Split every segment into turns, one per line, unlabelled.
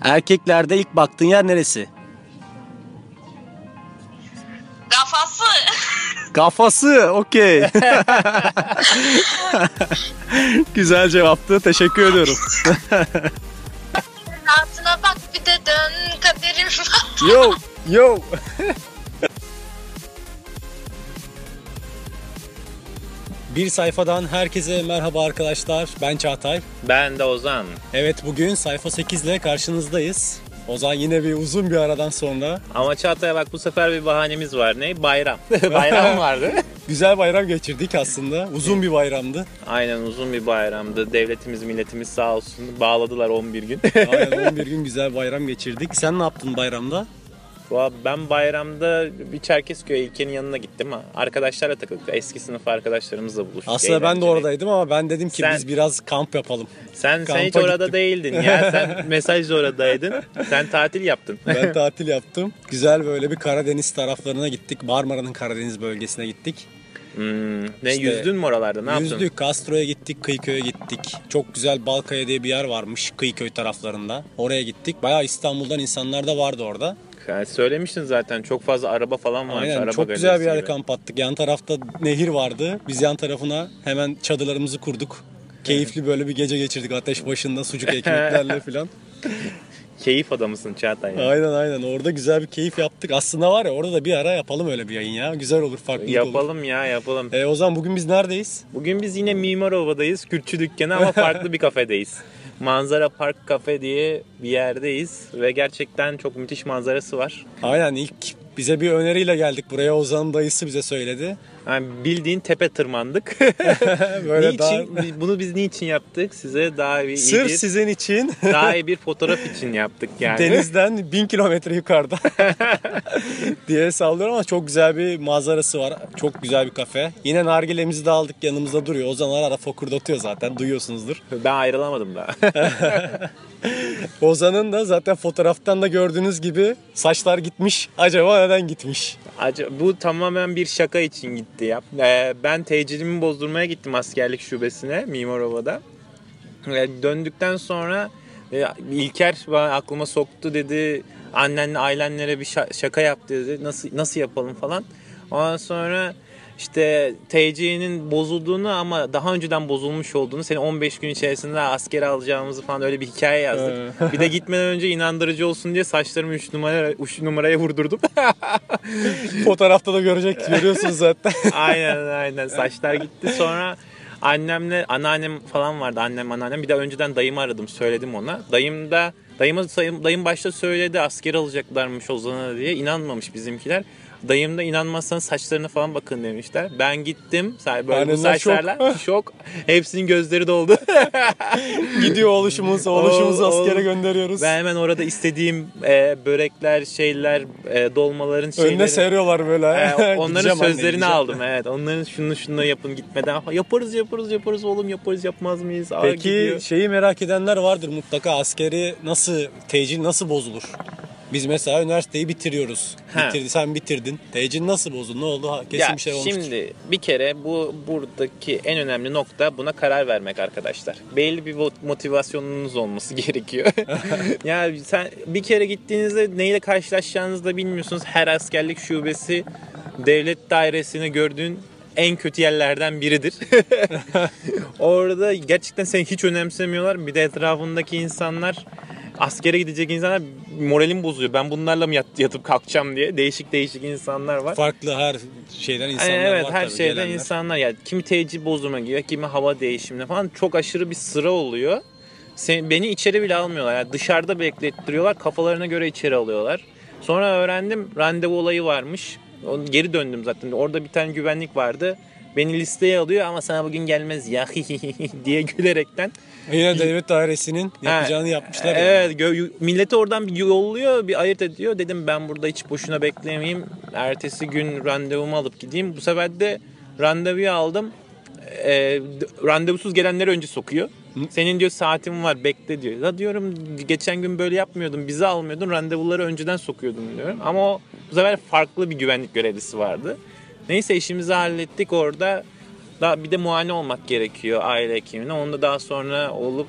Erkeklerde ilk baktığın yer neresi?
Kafası.
Kafası. Okey. Güzel cevaptı. Teşekkür ediyorum.
Altına bak bir de dön kaderim.
Yo. Yo. Bir sayfadan herkese merhaba arkadaşlar. Ben Çağatay.
Ben de Ozan.
Evet bugün sayfa 8 ile karşınızdayız. Ozan yine bir uzun bir aradan sonra
Ama Çağatay'a bak bu sefer bir bahanemiz var. Ne? Bayram. bayram vardı.
güzel bayram geçirdik aslında. Uzun bir bayramdı.
Aynen uzun bir bayramdı. Devletimiz, milletimiz sağ olsun. Bağladılar 11 gün.
Aynen 11 gün güzel bayram geçirdik. Sen ne yaptın bayramda?
Valla ben bayramda bir Çerkezköy ilkenin yanına gittim. Arkadaşlarla takıldık. Eski sınıf arkadaşlarımızla buluştuk.
Aslında ben de
Eğlenceli.
oradaydım ama ben dedim ki
Sen-
biz biraz kamp yapalım.
Sen, sen
Kampa
hiç orada
gittim.
değildin ya. Sen mesajla oradaydın. Sen tatil yaptın.
Ben tatil yaptım. Güzel böyle bir Karadeniz taraflarına gittik. Marmara'nın Karadeniz bölgesine gittik.
Hmm, ne
İşte
yüzdün mü oralarda? Ne yaptın?
Yüzdük, Castro'ya gittik, Kıyıköy'e gittik. Çok güzel Balkaya diye bir yer varmış Kıyıköy taraflarında. Oraya gittik. Bayağı İstanbul'dan insanlar da vardı orada.
Yani söylemiştin zaten. Çok fazla araba falan varmış.
Aynen
araba
çok güzel bir
galerisi
yerde
gibi.
kamp attık. Yan tarafta nehir vardı. Biz yan tarafına hemen çadırlarımızı kurduk. Keyifli böyle bir gece geçirdik ateş başında sucuk ekmeklerle falan.
Keyif adamısın Çağatay. ya.
Aynen aynen orada güzel bir keyif yaptık. Aslında var ya orada da bir ara yapalım öyle bir yayın ya. Güzel olur farklı olur.
Yapalım ya yapalım.
E, o zaman bugün biz neredeyiz?
Bugün biz yine Mimarova'dayız. Kürtçü dükkanı ama farklı bir kafedeyiz. Manzara Park Kafe diye bir yerdeyiz ve gerçekten çok müthiş manzarası var.
Aynen ilk bize bir öneriyle geldik buraya. Ozan dayısı bize söyledi.
Yani bildiğin tepe tırmandık.
Böyle
niçin?
daha-
Biz- Bunu biz niçin yaptık? Size daha iyi,
Sırf
bir,
sizin için
daha iyi bir fotoğraf için yaptık yani.
denizden bin kilometre yukarıda diye sallıyorum ama çok güzel bir manzarası var. Çok güzel bir kafe. Yine nargilemizi de aldık yanımızda duruyor. Ozan ara ara fokurdatıyor zaten duyuyorsunuzdur.
Ben ayrılamadım daha.
Ozan'ın da zaten fotoğraftan da gördüğünüz gibi saçlar gitmiş. Acaba neden gitmiş?
Acaba, bu tamamen bir şaka için gitti ya. Ee, ben tecilimi bozdurmaya gittim askerlik şubesine Mimarova'da. Ee, döndükten sonra e, İlker bana aklıma soktu dedi. Annenle ailenlere bir şa- şaka yap dedi. Nasıl nasıl yapalım falan. Ondan sonra işte TC'nin bozulduğunu ama daha önceden bozulmuş olduğunu seni 15 gün içerisinde askere alacağımızı falan öyle bir hikaye yazdık. bir de gitmeden önce inandırıcı olsun diye saçlarımı 3 numara, üç numaraya vurdurdum.
Fotoğrafta da görecek görüyorsunuz zaten.
aynen aynen saçlar gitti sonra annemle anneannem falan vardı annem anneannem bir de önceden dayımı aradım söyledim ona dayım da dayıma dayım, dayım başta söyledi asker alacaklarmış Ozan'a diye inanmamış bizimkiler Dayım da inanmazsanız saçlarına falan bakın demişler. Ben gittim. sa- Böyle bu
Annenler şok.
saçlarla şok. Hepsinin gözleri doldu.
Gidiyor oluşumuz, oluşumuzu
Ol-
askere
ol-
gönderiyoruz.
ben hemen orada istediğim e, börekler, şeyler, e, dolmaların şeyleri.
Önüne seriyorlar böyle.
Ee, onların
Gideceğim anne,
sözlerini
gideceğim.
aldım evet. Onların şunu şunu yapın gitmeden. Yaparız yaparız yaparız oğlum yaparız yapmaz mıyız? Aa,
Peki
gidiyor.
şeyi merak edenler vardır mutlaka askeri nasıl tecil nasıl bozulur? Biz mesela üniversiteyi bitiriyoruz.
Ha.
Bitirdi, sen bitirdin. Tecil nasıl bozuldu? Ne oldu? Ha, kesin
ya,
bir şey olmuş.
Şimdi bir kere bu buradaki en önemli nokta buna karar vermek arkadaşlar. Belli bir vo- motivasyonunuz olması gerekiyor. ya sen bir kere gittiğinizde neyle karşılaşacağınızı da bilmiyorsunuz. Her askerlik şubesi devlet dairesini gördüğün en kötü yerlerden biridir. Orada gerçekten seni hiç önemsemiyorlar. Bir de etrafındaki insanlar askere gidecek insanlar moralim bozuyor. Ben bunlarla mı yat- yatıp kalkacağım diye değişik değişik insanlar var.
Farklı her şeyden insanlar
Ay, evet,
var
her
tabii
şeyden
gelenler.
insanlar yani kimi tecil bozuma giriyor, kimi hava değişimine falan çok aşırı bir sıra oluyor. Sen, beni içeri bile almıyorlar. Yani dışarıda beklettiriyorlar. Kafalarına göre içeri alıyorlar. Sonra öğrendim randevu olayı varmış. O- Geri döndüm zaten. Orada bir tane güvenlik vardı. Beni listeye alıyor ama sana bugün gelmez ya diye gülerekten
Yine devlet dairesinin
Ha,
yapacağını yapmışlar. yani.
Evet, gö- milleti oradan bir yolluyor, bir ayırt ediyor. Dedim ben burada hiç boşuna beklemeyeyim. Ertesi gün randevumu alıp gideyim. Bu sefer de randevuyu aldım. Ee, d- randevusuz gelenleri önce sokuyor. Senin diyor saatin var bekle diyor. Ya diyorum geçen gün böyle yapmıyordun bizi almıyordun randevuları önceden sokuyordun diyorum. Ama o bu sefer farklı bir güvenlik görevlisi vardı. Neyse işimizi hallettik orada. Daha bir de muayene olmak gerekiyor aile hekimine. Onu da daha sonra olup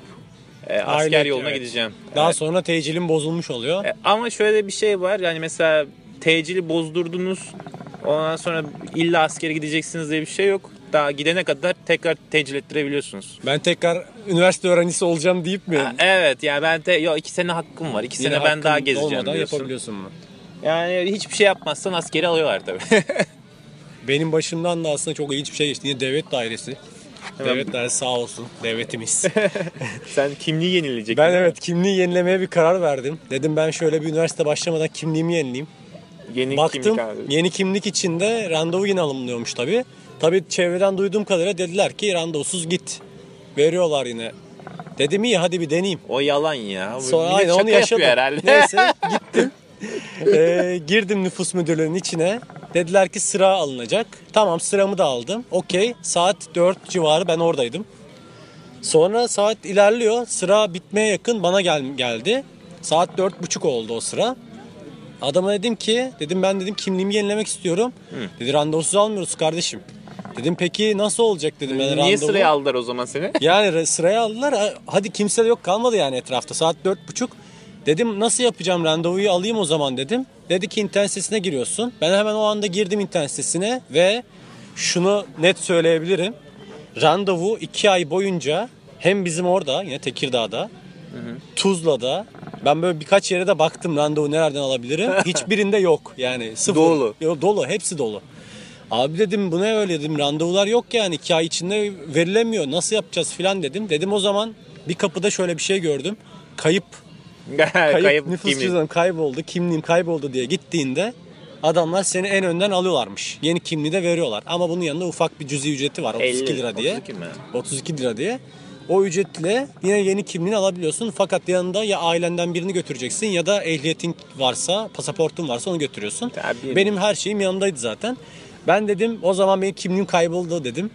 e, asker
Aile-
yoluna
evet.
gideceğim.
Daha sonra tecilim bozulmuş oluyor.
E, Ama şöyle bir şey var yani mesela tecili bozdurdunuz ondan sonra illa askere gideceksiniz diye bir şey yok. Daha gidene kadar tekrar tecil ettirebiliyorsunuz.
Ben tekrar üniversite öğrencisi olacağım deyip mi?
Ha, Evet ya ben de yo iki sene hakkım var. iki
Yine
sene ben
hakkın
daha gezeceğim
olmadan
diyorsun.
yapabiliyorsun bunu.
Yani hiçbir şey yapmazsan askeri alıyorlar tabii.
Benim başımdan da aslında çok ilginç bir şey geçti. Yine devlet dairesi. Devlet dairesi sağ olsun devletimiz.
Sen kimliği yenilecek.
ben evet kimliği yenilemeye bir karar verdim. Dedim ben şöyle bir üniversite başlamadan kimliğimi yenileyim.
Yeni
Baktım
kimlik abi.
yeni kimlik içinde randevu yine alınmıyormuş tabii. Tabii çevreden duyduğum kadarıyla dediler ki randevusuz git. Veriyorlar yine. Dedim iyi hadi bir deneyeyim.
O yalan ya. Bu
Sonra
millet
aynı
şaka
onu
yapıyor
yaşadım.
herhalde.
Neyse gittim. Ee, girdim nüfus müdürlüğünün içine. Dediler ki sıra alınacak. Tamam sıramı da aldım. Okey saat 4 civarı ben oradaydım. Sonra saat ilerliyor. Sıra bitmeye yakın bana gel geldi. Saat 4.30 oldu o sıra. Adama dedim ki dedim ben dedim kimliğimi yenilemek istiyorum. Dedi randevusuz almıyoruz kardeşim. Dedim peki nasıl olacak dedim. Ben
Niye
randevu-
sıraya aldılar o zaman seni?
yani re- sıraya aldılar. E, Hadi kimse de yok kalmadı yani etrafta. Saat dört buçuk. Dedim nasıl yapacağım randevuyu alayım o zaman dedim. Dedi ki internet sitesine giriyorsun. Ben hemen o anda girdim internet sitesine ve şunu net söyleyebilirim. Randevu iki ay boyunca hem bizim orada yine Tekirdağ'da Tuzla'da ben böyle birkaç yere de baktım randevu nereden alabilirim. Hiçbirinde yok yani sıfır.
Dolu.
Yo, dolu hepsi dolu. Abi dedim bu ne öyle dedim randevular yok yani iki ay içinde verilemiyor nasıl yapacağız filan dedim. Dedim o zaman bir kapıda şöyle bir şey gördüm. Kayıp, kayıp, nüfus
kimliği.
cüzdanım kayboldu kimliğim kayboldu diye gittiğinde adamlar seni en önden alıyorlarmış. Yeni kimliği de veriyorlar ama bunun yanında ufak bir cüzi ücreti var 32
50,
lira diye.
32 mi?
32 lira diye. O ücretle yine yeni kimliğini alabiliyorsun. Fakat yanında ya ailenden birini götüreceksin ya da ehliyetin varsa, pasaportun varsa onu götürüyorsun.
Tabii.
Benim her şeyim yanımdaydı zaten. Ben dedim o zaman benim kimliğim kayboldu dedim.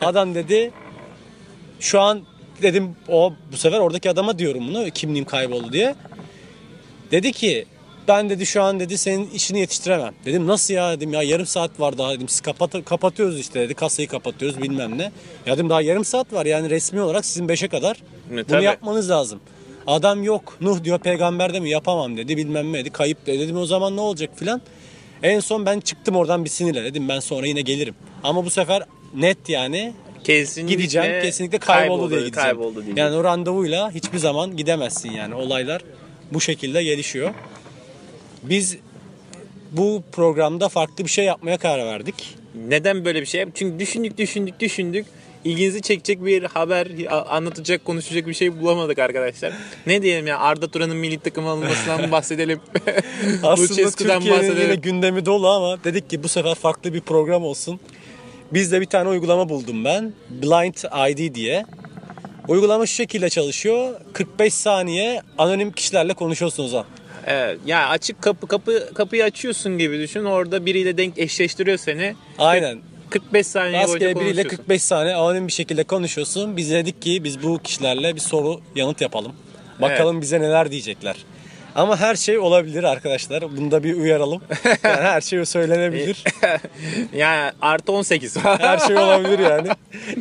Adam dedi şu an dedim o bu sefer oradaki adama diyorum bunu kimliğim kayboldu diye. Dedi ki ben dedi şu an dedi senin işini yetiştiremem. Dedim nasıl ya dedim ya yarım saat var daha dedim siz kapat kapatıyoruz işte dedi kasayı kapatıyoruz bilmem ne. Ya dedim daha yarım saat var yani resmi olarak sizin 5'e kadar
Ne,
bunu
tabii.
yapmanız lazım. Adam yok Nuh diyor peygamber de mi yapamam dedi bilmem ne dedi kayıp dedi. Dedim o zaman ne olacak filan. En son ben çıktım oradan bir sinirle dedim ben sonra yine gelirim. Ama bu sefer net yani
Kesinlikle
gideceğim kesinlikle kayboldu, diye gideceğim.
Kayboldu diye.
Yani o randevuyla hiçbir zaman gidemezsin yani olaylar bu şekilde gelişiyor. Biz bu programda farklı bir şey yapmaya karar verdik.
Neden böyle bir şey? Çünkü düşündük düşündük düşündük. İlginizi çekecek bir haber, a- anlatacak, konuşacak bir şey bulamadık arkadaşlar. Ne diyelim ya Arda Turan'ın milli takıma alınmasından mı bahsedelim?
Aslında
Lucescu'dan
Türkiye'nin yine gündemi dolu ama dedik ki bu sefer farklı bir program olsun. Biz de bir tane uygulama buldum ben. Blind ID diye. Uygulama şu şekilde çalışıyor. 45 saniye anonim kişilerle konuşuyorsunuz. ha.
Evet, ya açık kapı kapı kapıyı açıyorsun gibi düşün. Orada biriyle denk eşleştiriyor seni.
Aynen.
45 saniye boyunca
Rastgele biriyle
konuşuyorsun.
45 saniye anonim bir şekilde konuşuyorsun. Biz dedik ki biz bu kişilerle bir soru yanıt yapalım. Bakalım bize neler diyecekler. Ama her şey olabilir arkadaşlar. Bunu da bir uyaralım. Yani her şey söylenebilir.
Yani artı 18.
Her şey olabilir yani.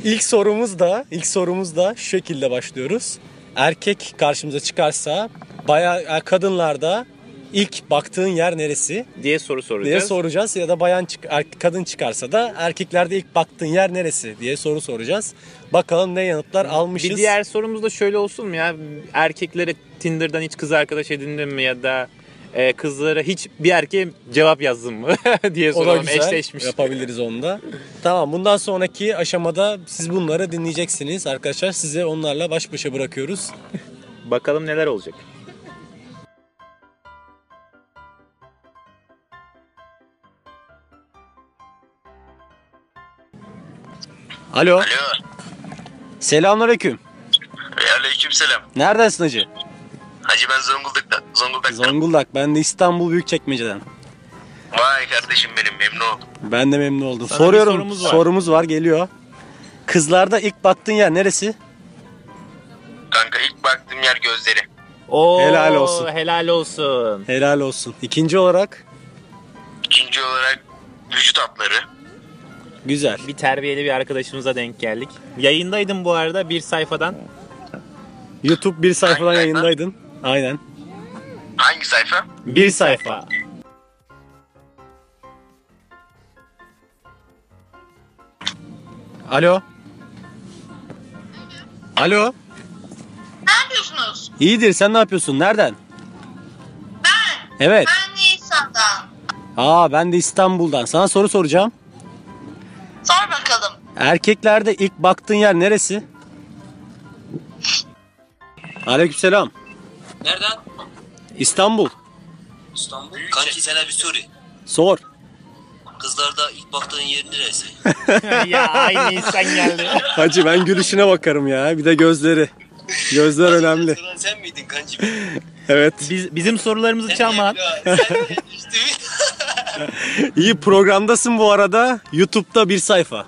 İlk sorumuz da, ilk sorumuz da şu şekilde başlıyoruz. Erkek karşımıza çıkarsa bayağı kadınlarda ilk baktığın yer neresi?
diye soru soracağız.
diye soracağız ya da bayan çık erkek- kadın çıkarsa da erkeklerde ilk baktığın yer neresi diye soru soracağız. Bakalım ne yanıtlar almışız.
Bir diğer sorumuz da şöyle olsun mu ya? Erkeklere Tinder'dan hiç kız arkadaş edindin mi ya da e, kızlara hiç bir erkeğe cevap yazdın mı diye
o da
soralım.
güzel.
Eşleşmiş.
Yapabiliriz onu da. tamam bundan sonraki aşamada siz bunları dinleyeceksiniz arkadaşlar. Size onlarla baş başa bırakıyoruz.
Bakalım neler olacak.
Alo.
Alo.
Selamünaleyküm.
Aleykümselam.
Neredesin hacı?
Hacı ben Zonguldak'ta. Zonguldak'ta.
Zonguldak. Ben de İstanbul Büyükçekmece'den.
Vay kardeşim benim memnun oldum.
Ben de memnun oldum.
Sana bir
Soruyorum.
sorumuz var.
sorumuz var geliyor. Kızlarda ilk baktığın yer neresi?
Kanka ilk baktığım yer gözleri.
Oo,
Helal olsun.
Helal olsun.
Helal olsun. İkinci olarak
İkinci olarak vücut hatları.
güzel.
Bir terbiyeli bir arkadaşımıza denk geldik. Yayındaydım bu arada bir sayfadan.
YouTube bir sayfadan
Aynen.
yayındaydın. Aynen.
Hangi sayfa?
Bir sayfa. Alo. Alo.
Ne yapıyorsunuz?
İyidir sen ne yapıyorsun? Nereden?
Ben.
Evet.
Ben Nisan'dan.
Aa ben de İstanbul'dan. Sana soru soracağım.
Sor bakalım.
Erkeklerde ilk baktığın yer neresi? Aleykümselam.
Nereden?
İstanbul.
İstanbul.
Şey.
Kanki sana bir soru.
Sor.
Kızlarda ilk baktığın yer neresi?
ya aynı insan geldi.
Hacı ben gülüşüne bakarım ya. Bir de gözleri. Gözler önemli.
Soran sen miydin kanki?
Evet.
Biz, bizim sorularımızı çalma.
Ya, sen de işte.
İyi programdasın bu arada. YouTube'da bir sayfa.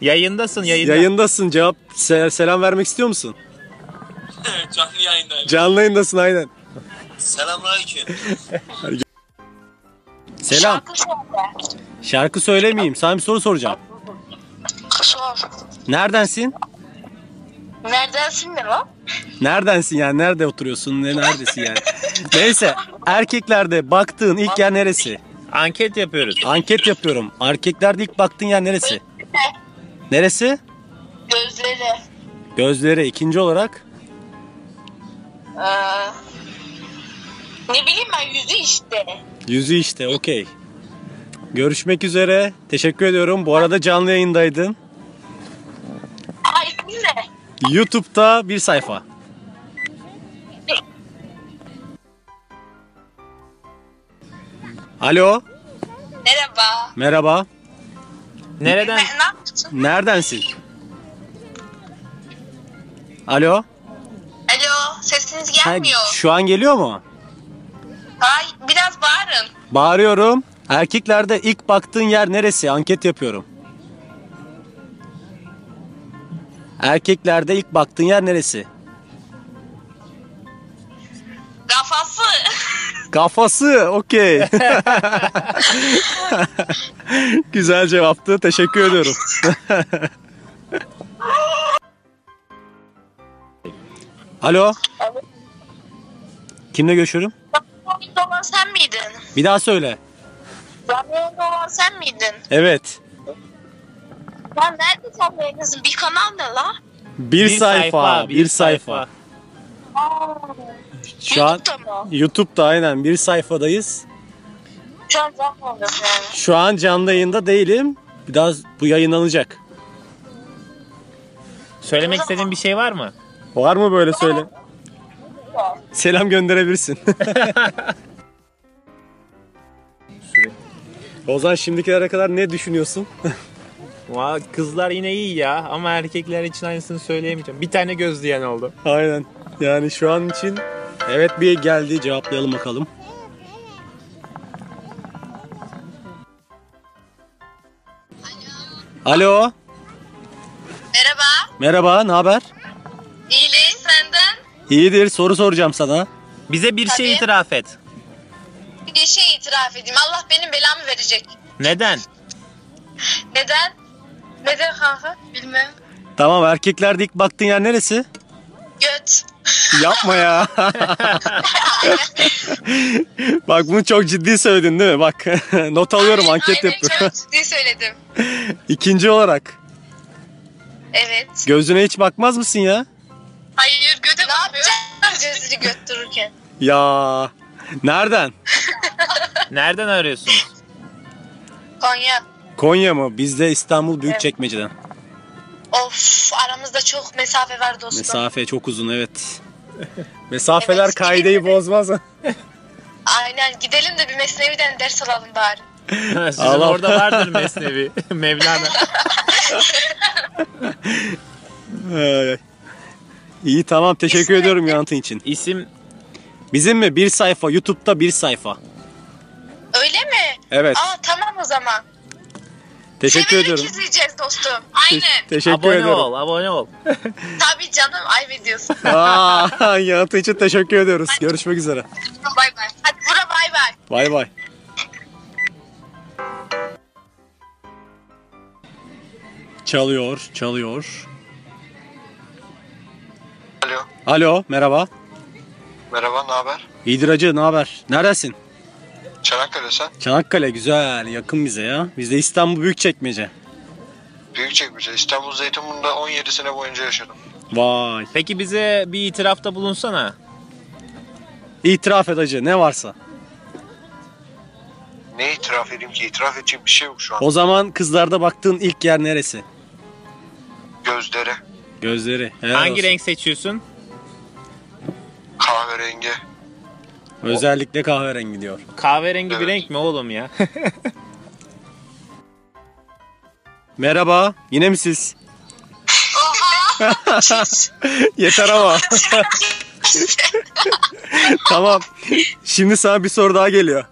Yayındasın yayında.
Yayındasın. Cevap se- selam vermek istiyor musun?
Canlı yayındayım.
Canlı yayındasın aynen.
Selamünaleyküm.
Selam.
Şarkı söyle.
Şarkı söylemeyeyim. Sana bir soru soracağım.
Sor.
Neredensin?
Neredensin ne o?
Neredensin yani? Nerede oturuyorsun? Ne neredesin yani? Neyse, erkeklerde baktığın ilk yer neresi?
Anket yapıyoruz.
Anket yapıyorum. Erkeklerde ilk baktığın yer neresi? Neresi?
Gözleri.
Gözleri. İkinci olarak
Ee, ne bileyim ben yüzü işte.
yüzü işte. Okey. Görüşmek üzere. Teşekkür ediyorum. Bu arada canlı yayındaydın.
Aa ismin ne?
YouTube'da bir sayfa. Alo.
Merhaba.
Merhaba.
Nereden?
Ne, ne yaptın?
Neredensin? Alo.
Alo sesiniz
Ha,
gelmiyor.
şu an geliyor mu?
Ay biraz bağırın.
Bağırıyorum. Erkeklerde ilk baktığın yer neresi? Anket yapıyorum. Erkeklerde ilk baktığın yer neresi?
Kafası.
Kafası. Okey. Güzel cevaptı. Teşekkür ediyorum. Alo. Kimle görüşüyorum?
Ramyon'da olan sen miydin?
Bir daha söyle.
Ramyon'da olan sen miydin?
Evet.
Ya nerede sen yayınızın? Bir kanal ne la?
Bir, sayfa, bir sayfa. Şu an
YouTube'da mı?
YouTube'da aynen bir sayfadayız.
Şu an canlandım yani.
Şu an canlı yayında değilim. Bir daha bu yayınlanacak.
Söylemek istediğin bir şey var mı?
Var mı böyle söyle? Selam gönderebilirsin. Ozan şimdikilere kadar ne düşünüyorsun?
Vay, kızlar yine iyi ya ama erkekler için aynısını söyleyemeyeceğim. Bir tane göz diyen oldu.
Aynen. Yani şu an için evet bir geldi cevaplayalım bakalım. Alo.
Merhaba.
Merhaba, ne haber?
İyiliğin senden
İyidir. Soru soracağım sana.
Bize bir şey
Tabii.
itiraf et.
bir şey itiraf edeyim. Allah benim belamı verecek.
Neden?
Neden? Neden kanka? Bilmem.
Tamam, erkeklerde ilk baktığın yer neresi?
Göt.
Yapma ya. Bak bunu çok ciddi söyledin değil mi? Bak not alıyorum anket
Aynen,
yapıyorum.
Çok ciddi söyledim.
İkinci olarak
Evet.
gözüne hiç bakmaz mısın ya?
Hayır göte ne yapacağız Cezri göt dururken?
Ya nereden?
Nereden arıyorsunuz?
Konya.
Konya mı? Bizde İstanbul Büyükçekmece'den.
Of aramızda çok mesafe var dostum.
Mesafe çok uzun evet. Mesafeler
Evet,
kaideyi
gidelim.
bozmaz.
Aynen gidelim de bir mesneviden ders alalım bari.
Sizin
Allah.
orada vardır Mesnevi. Mevlana.
Ay, ay. İyi tamam teşekkür
İsmi-
ediyorum yanıtın için.
İsim
Bizim mi? Bir sayfa. Youtube'da bir sayfa.
Öyle mi?
Evet.
Aa tamam o zaman.
Teşekkür
Severek
ediyorum.
izleyeceğiz dostum.
Te-
Aynen.
teşekkür
abone
ediyorum.
ol, abone ol.
Tabii canım ayıp ediyorsun.
Aa, yanıtı için teşekkür ediyoruz. Görüşmek üzere.
bay bay. Hadi bura bay bay.
Bay bay. Çalıyor, çalıyor.
Alo.
Alo merhaba.
Merhaba, ne haber?
İyidir hacı ne haber? Neredesin?
Çanakkale sen.
Çanakkale güzel yakın bize ya. Biz de İstanbul Büyükçekmece.
Büyükçekmece. İstanbul Zeytinburnu'nda 17 sene boyunca yaşadım.
Vay.
Peki bize bir itirafta bulunsana.
İtiraf et hacı ne varsa.
Ne itiraf edeyim ki? İtiraf edecek bir şey yok şu an.
O zaman kızlarda baktığın ilk yer neresi?
Gözleri,
Gözleri. Helal
Hangi
olsun.
renk seçiyorsun?
kahverengi.
Özellikle kahverengi diyor.
Kahverengi bir
Evet.
renk mi oğlum ya?
Merhaba yine mi siz? Yeter ama. tamam. Şimdi sana bir soru daha geliyor.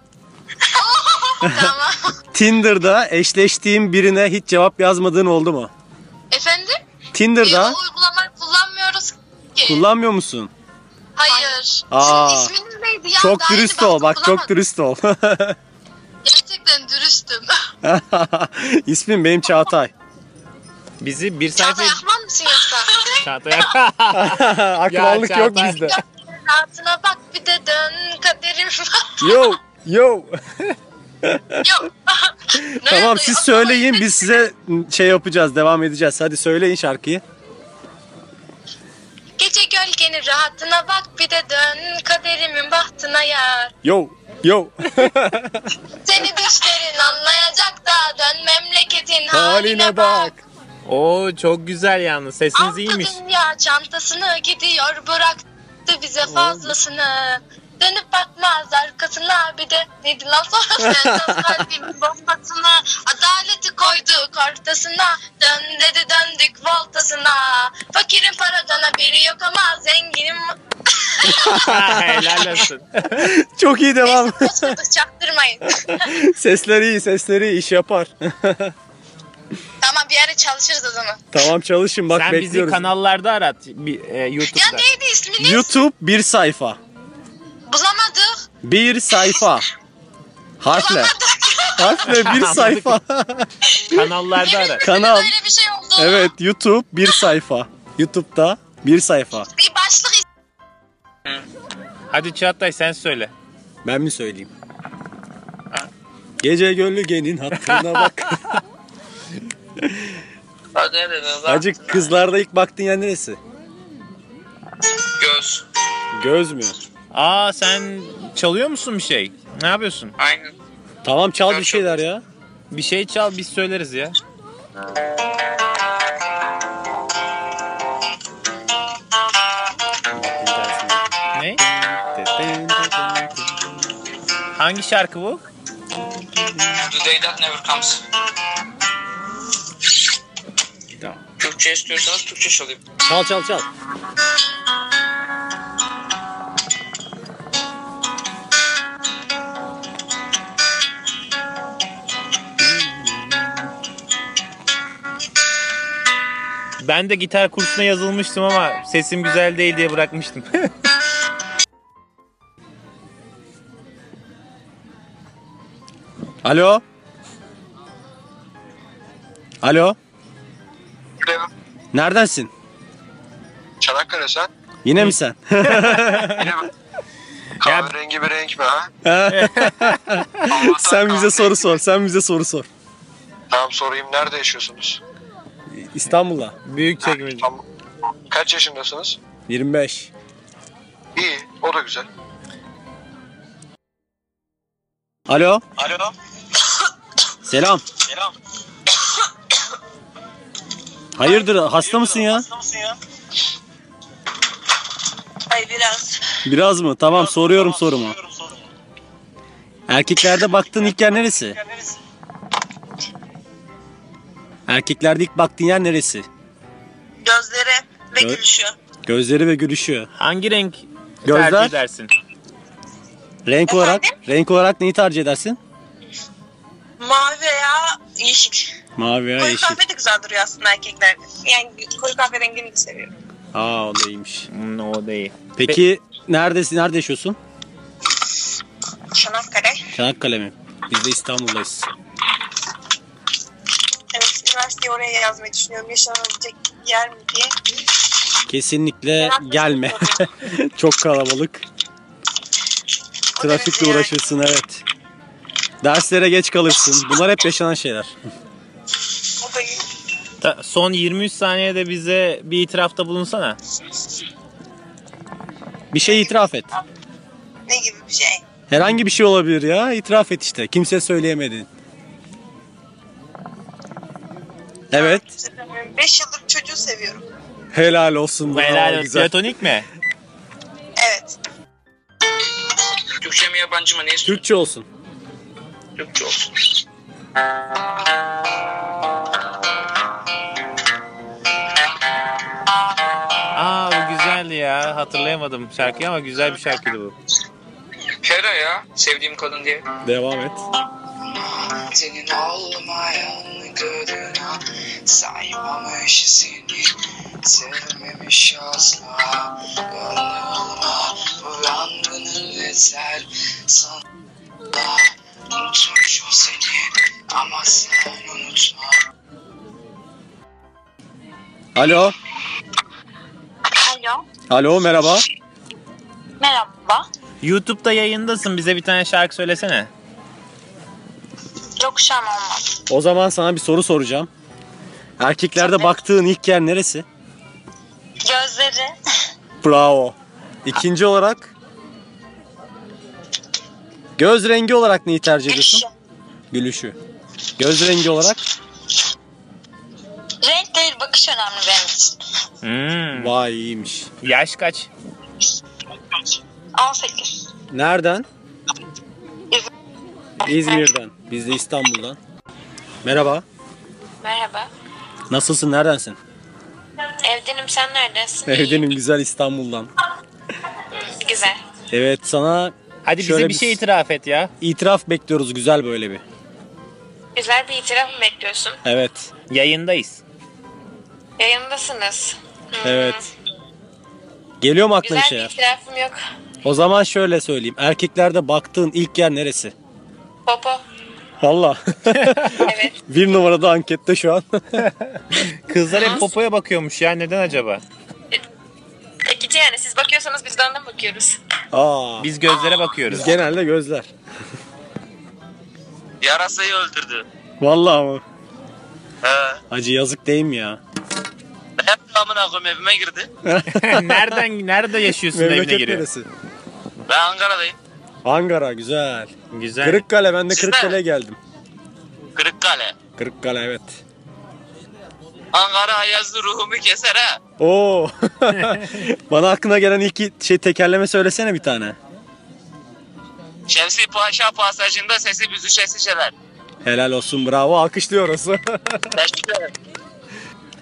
Tinder'da eşleştiğin birine hiç cevap yazmadığın oldu mu?
Efendim?
Tinder'da
Biz uygulama kullanmıyoruz ki.
kullanmıyor musun?
Hayır.
Aa.
Şimdi isminiz neydi ya?
Çok
Daha yeni
dürüst ol bak çok
bulamadım.
dürüst ol.
Gerçekten dürüstüm.
İsmim benim Çağatay.
Bizi bir sayfa...
Çağatay Akman mısın yoksa?
Çağatay.
Akvallık
Ya
yok
Çağatay.
bizde.
Rahatına bak bir de dön kaderim var.
Yo yo.
Yok.
tamam
Nerede?
siz
Aklıma
söyleyin
gelmedi.
biz size şey yapacağız devam edeceğiz. Hadi söyleyin şarkıyı.
Gece gölgenin rahatına bak bir de dön kaderimin bahtına yar.
Yo yo.
Seni düşlerin anlayacak da dön memleketin
Haline
haline
bak.
bak.
Oo çok güzel yalnız. Sesiniz
Aldı
iyiymiş.
dünya çantasını gidiyor bıraktı bize fazlasını. Dönüp bakmaz arkasına bir de neydi lan sonra kalbimin bombasına adaleti koyduk ortasına dön dedi döndük voltasına fakirin paradan haberi yok ama zenginin
Helal olsun.
Çok iyi devam.
neyse bozkırdık çaktırmayın
sesleri iyi sesleri iyi, iş yapar.
tamam bir ara çalışırız o zaman
tamam çalışın bak
Sen bizi
bekliyoruz.
kanallarda arat. Bir, e,
ya
YouTube'da.
neydi isminiz
YouTube bir sayfa.
bulamadık
Bir sayfa. Harfle.
bulamadık
Harfle bir sayfa.
kanallarda arat.
Kanal.
böyle bir şey oldu
Evet YouTube bir sayfa. YouTube'da bir sayfa.
bir başlık
Hadi Çağatay sen söyle.
Ben mi söyleyeyim? Gece gölgenin hattına bak.
Hadi hadi, hadi.
Hacı kızlarda ilk baktığın yer neresi?
Göz.
Göz mü?
Aa sen çalıyor musun bir şey? Ne yapıyorsun?
Aynen.
Tamam çal bir şeyler ya.
Bir şey çal biz söyleriz ya. Ne? Hangi şarkı bu?
The day that never comes. Türkçe istiyorsanız Türkçe çalayım.
Çal çal çal.
Ben de gitar kursuna yazılmıştım ama sesim güzel değil diye bırakmıştım.
Alo. Alo.
Alo.
Neredensin?
Çanakkale sen.
Yine mi sen?
Yine mi? Kahverengi bir renk mi ha?
sen bize soru sor. Sen bize soru sor.
Tamam sorayım. Nerede yaşıyorsunuz?
İstanbul'a.
Büyük çekmece.
Tam kaç yaşındasınız?
25.
İyi. O da güzel.
Alo.
Alo.
Selam.
Selam.
Hayırdır hasta mısın ya?
mısın ya? Ay biraz.
Biraz mı? Tamam soruyorum sorumu. Erkeklerde baktığın ilk yer neresi? Erkeklerde ilk baktığın yer neresi?
Gözleri ve
Gö-
gülüşü.
Gözleri ve gülüşü.
Hangi renk
Gözler.
tercih edersin?
Renk olarak, renk olarak neyi tercih edersin?
Mavi veya yeşil.
Mavi veya
Koyu
yeşil.
kahve de güzel duruyor aslında erkeklerde. Yani koyu kahve rengini de seviyorum.
Aa o da iyiymiş.
Hmm, o değil.
Peki neredesin? Nerede yaşıyorsun?
Çanakkale.
Çanakkale mi? Biz de İstanbul'dayız.
Evet, üniversiteyi oraya yazmayı düşünüyorum. Yaşanabilecek yer mi diye.
Kesinlikle gelme. Çok kalabalık.
şey
Trafikle uğraşırsın evet. Derslere geç kalırsın. Bunlar hep yaşanan şeyler.
O da iyi.
Ta- Son 23 saniyede bize bir itirafta bulunsana.
Bir şey itiraf et.
Ne gibi bir şey?
Herhangi bir şey olabilir ya. İtiraf et işte. Kimse söyleyemedin. Evet.
5 yıllık çocuğu seviyorum.
Helal olsun. bravo,
Helal olsun.
güzel.
Platonik mi?
Evet.
Türkçe mi yabancı mı ne istiyorsun?
Türkçe olsun.
Türkçe olsun.
Aa bu güzeldi ya. Hatırlayamadım şarkıyı ama güzel bir şarkıydı bu.
Hera ya sevdiğim kadın diye.
Devam et.
Senin olmayan gönlüne saymamış seni Sevmemiş asla gönlüme bu yangını eser Sana unutmuş o seni ama sen unutma
Alo.
Alo.
Alo merhaba.
Merhaba.
YouTube'da yayındasın. Bize bir tane şarkı söylesene.
Yok şu an olmaz.
O zaman sana bir soru soracağım. Erkeklerde baktığın ilk yer neresi?
Gözleri.
Bravo. İkinci olarak göz rengi olarak neyi tercih ediyorsun? Gülüşü. Göz rengi olarak
Renk değil bakış önemli benim için.
Hmm.
vay iyiymiş.
Yaş kaç?
18.
Nereden? İzmir'den. Biz de İstanbul'dan. Merhaba.
Merhaba.
Nasılsın? Neredensin?
Evdenim sen neredesin?
Evdenim güzel İstanbul'dan.
Güzel.
Evet sana
Hadi bize
Şöyle
bir
bir-
şey itiraf et ya.
itiraf bekliyoruz güzel böyle bir.
Güzel bir itiraf mı bekliyorsun?
Evet.
Yayındayız.
Yayındasınız. Hmm.
Evet. Geliyor mu aklına
Güzel
bir
bir
şeyler?
itirafım yok.
O zaman şöyle söyleyeyim. Erkeklerde baktığın ilk yer neresi?
Popo.
Valla.
Evet.
bir numarada ankette şu an.
Kızlar hep popoya bakıyormuş ya. Neden acaba?
İkinci yani siz bakıyorsanız biz de ondan bakıyoruz.
Aa.
Biz gözlere bakıyoruz.
Genelde gözler.
Yarasayı öldürdü.
Vallahi ama.
He.
Acı yazık değil mi ya?
Ne yaptı amına koyayım evime girdi.
Nereden nerede yaşıyorsun da evine
Memleket
giriyor?
neresi?
Ben Ankara'dayım.
Ankara güzel.
Güzel.
Kırıkkale ben de
Sizde?
Kırıkkale'ye geldim.
Kırıkkale.
Kırıkkale evet.
Ankara ayazlı ruhumu keser ha.
Oo. Bana aklına gelen ilk şey tekerleme söylesene bir tane.
Şemsi Paşa pasajında sesi büzüşe şişeler.
Helal olsun bravo alkışlıyoruz.
Teşekkür ederim.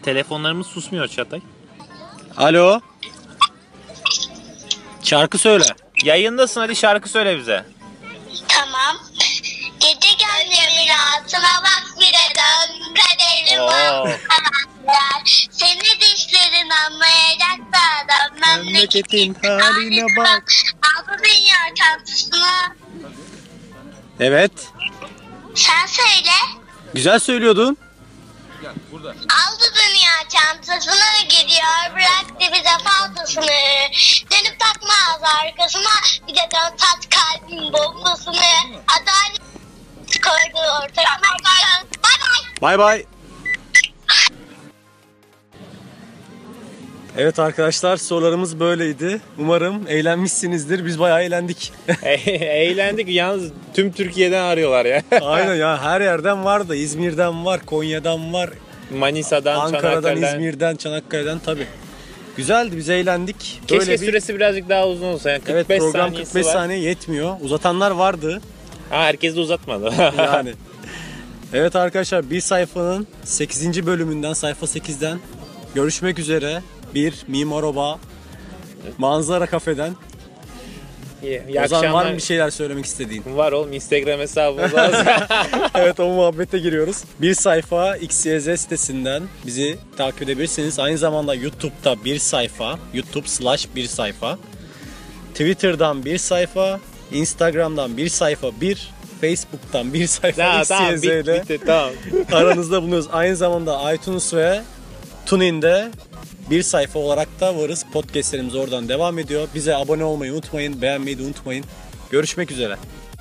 Telefonlarımız susmuyor Çağatay.
Alo. Şarkı söyle.
Yayındasın hadi şarkı söyle bize.
Tamam. Gece gönlümün altına bak bir de dön kaderim
Oo.
anlar. Seni dişlerin anlayacak da adam
Memleketin haline bak.
Aldı dünya tatlısını.
Evet.
Sen söyle.
Güzel söylüyordun.
Aldı dünya çantasını gidiyor bıraktı bize fazlasını Dönüp bakmaz arkasına bir de dön tat kalbin bombasını Adalet koydu ortaya Bay bay
Bay bay. Evet arkadaşlar sorularımız böyleydi. Umarım eğlenmişsinizdir. Biz bayağı eğlendik.
E, Eğlendik yalnız tüm Türkiye'den arıyorlar ya.
Aynen ya her yerden var da İzmir'den var, Konya'dan var,
Manisa'dan,
Ankara'dan,
Çanakkale'den.
İzmir'den, Çanakkale'den tabii. Güzeldi biz eğlendik.
Keşke
Böyle bir-
süresi birazcık daha uzun olsa. Yani 45
Evet program
saniyesi
45
var.
saniye yetmiyor. Uzatanlar vardı.
Ha, herkes de uzatmadı.
yani. Evet arkadaşlar bir sayfanın 8. bölümünden sayfa 8'den görüşmek üzere. Bir Mimaroba manzara kafeden.
İyi, iyi
Ozan var
akşamlar.
mı bir şey? şeyler söylemek istediğin?
Var oğlum Instagram hesabımız lazım.
evet o muhabbete giriyoruz. Bir sayfa XYZ sitesinden bizi takip edebilirsiniz. Aynı zamanda YouTube'da bir sayfa. YouTube slash bir sayfa. Twitter'dan bir sayfa. Instagram'dan bir sayfa bir. Facebook'tan bir sayfa
Ha, tamam
XYZ
bitti,
ile
bitti tamam.
aranızda bulunuyoruz. Aynı zamanda iTunes ve TuneIn'de Bir sayfa olarak da varız. Podcastlerimiz oradan devam ediyor. Bize abone olmayı unutmayın. Beğenmeyi de unutmayın. Görüşmek üzere.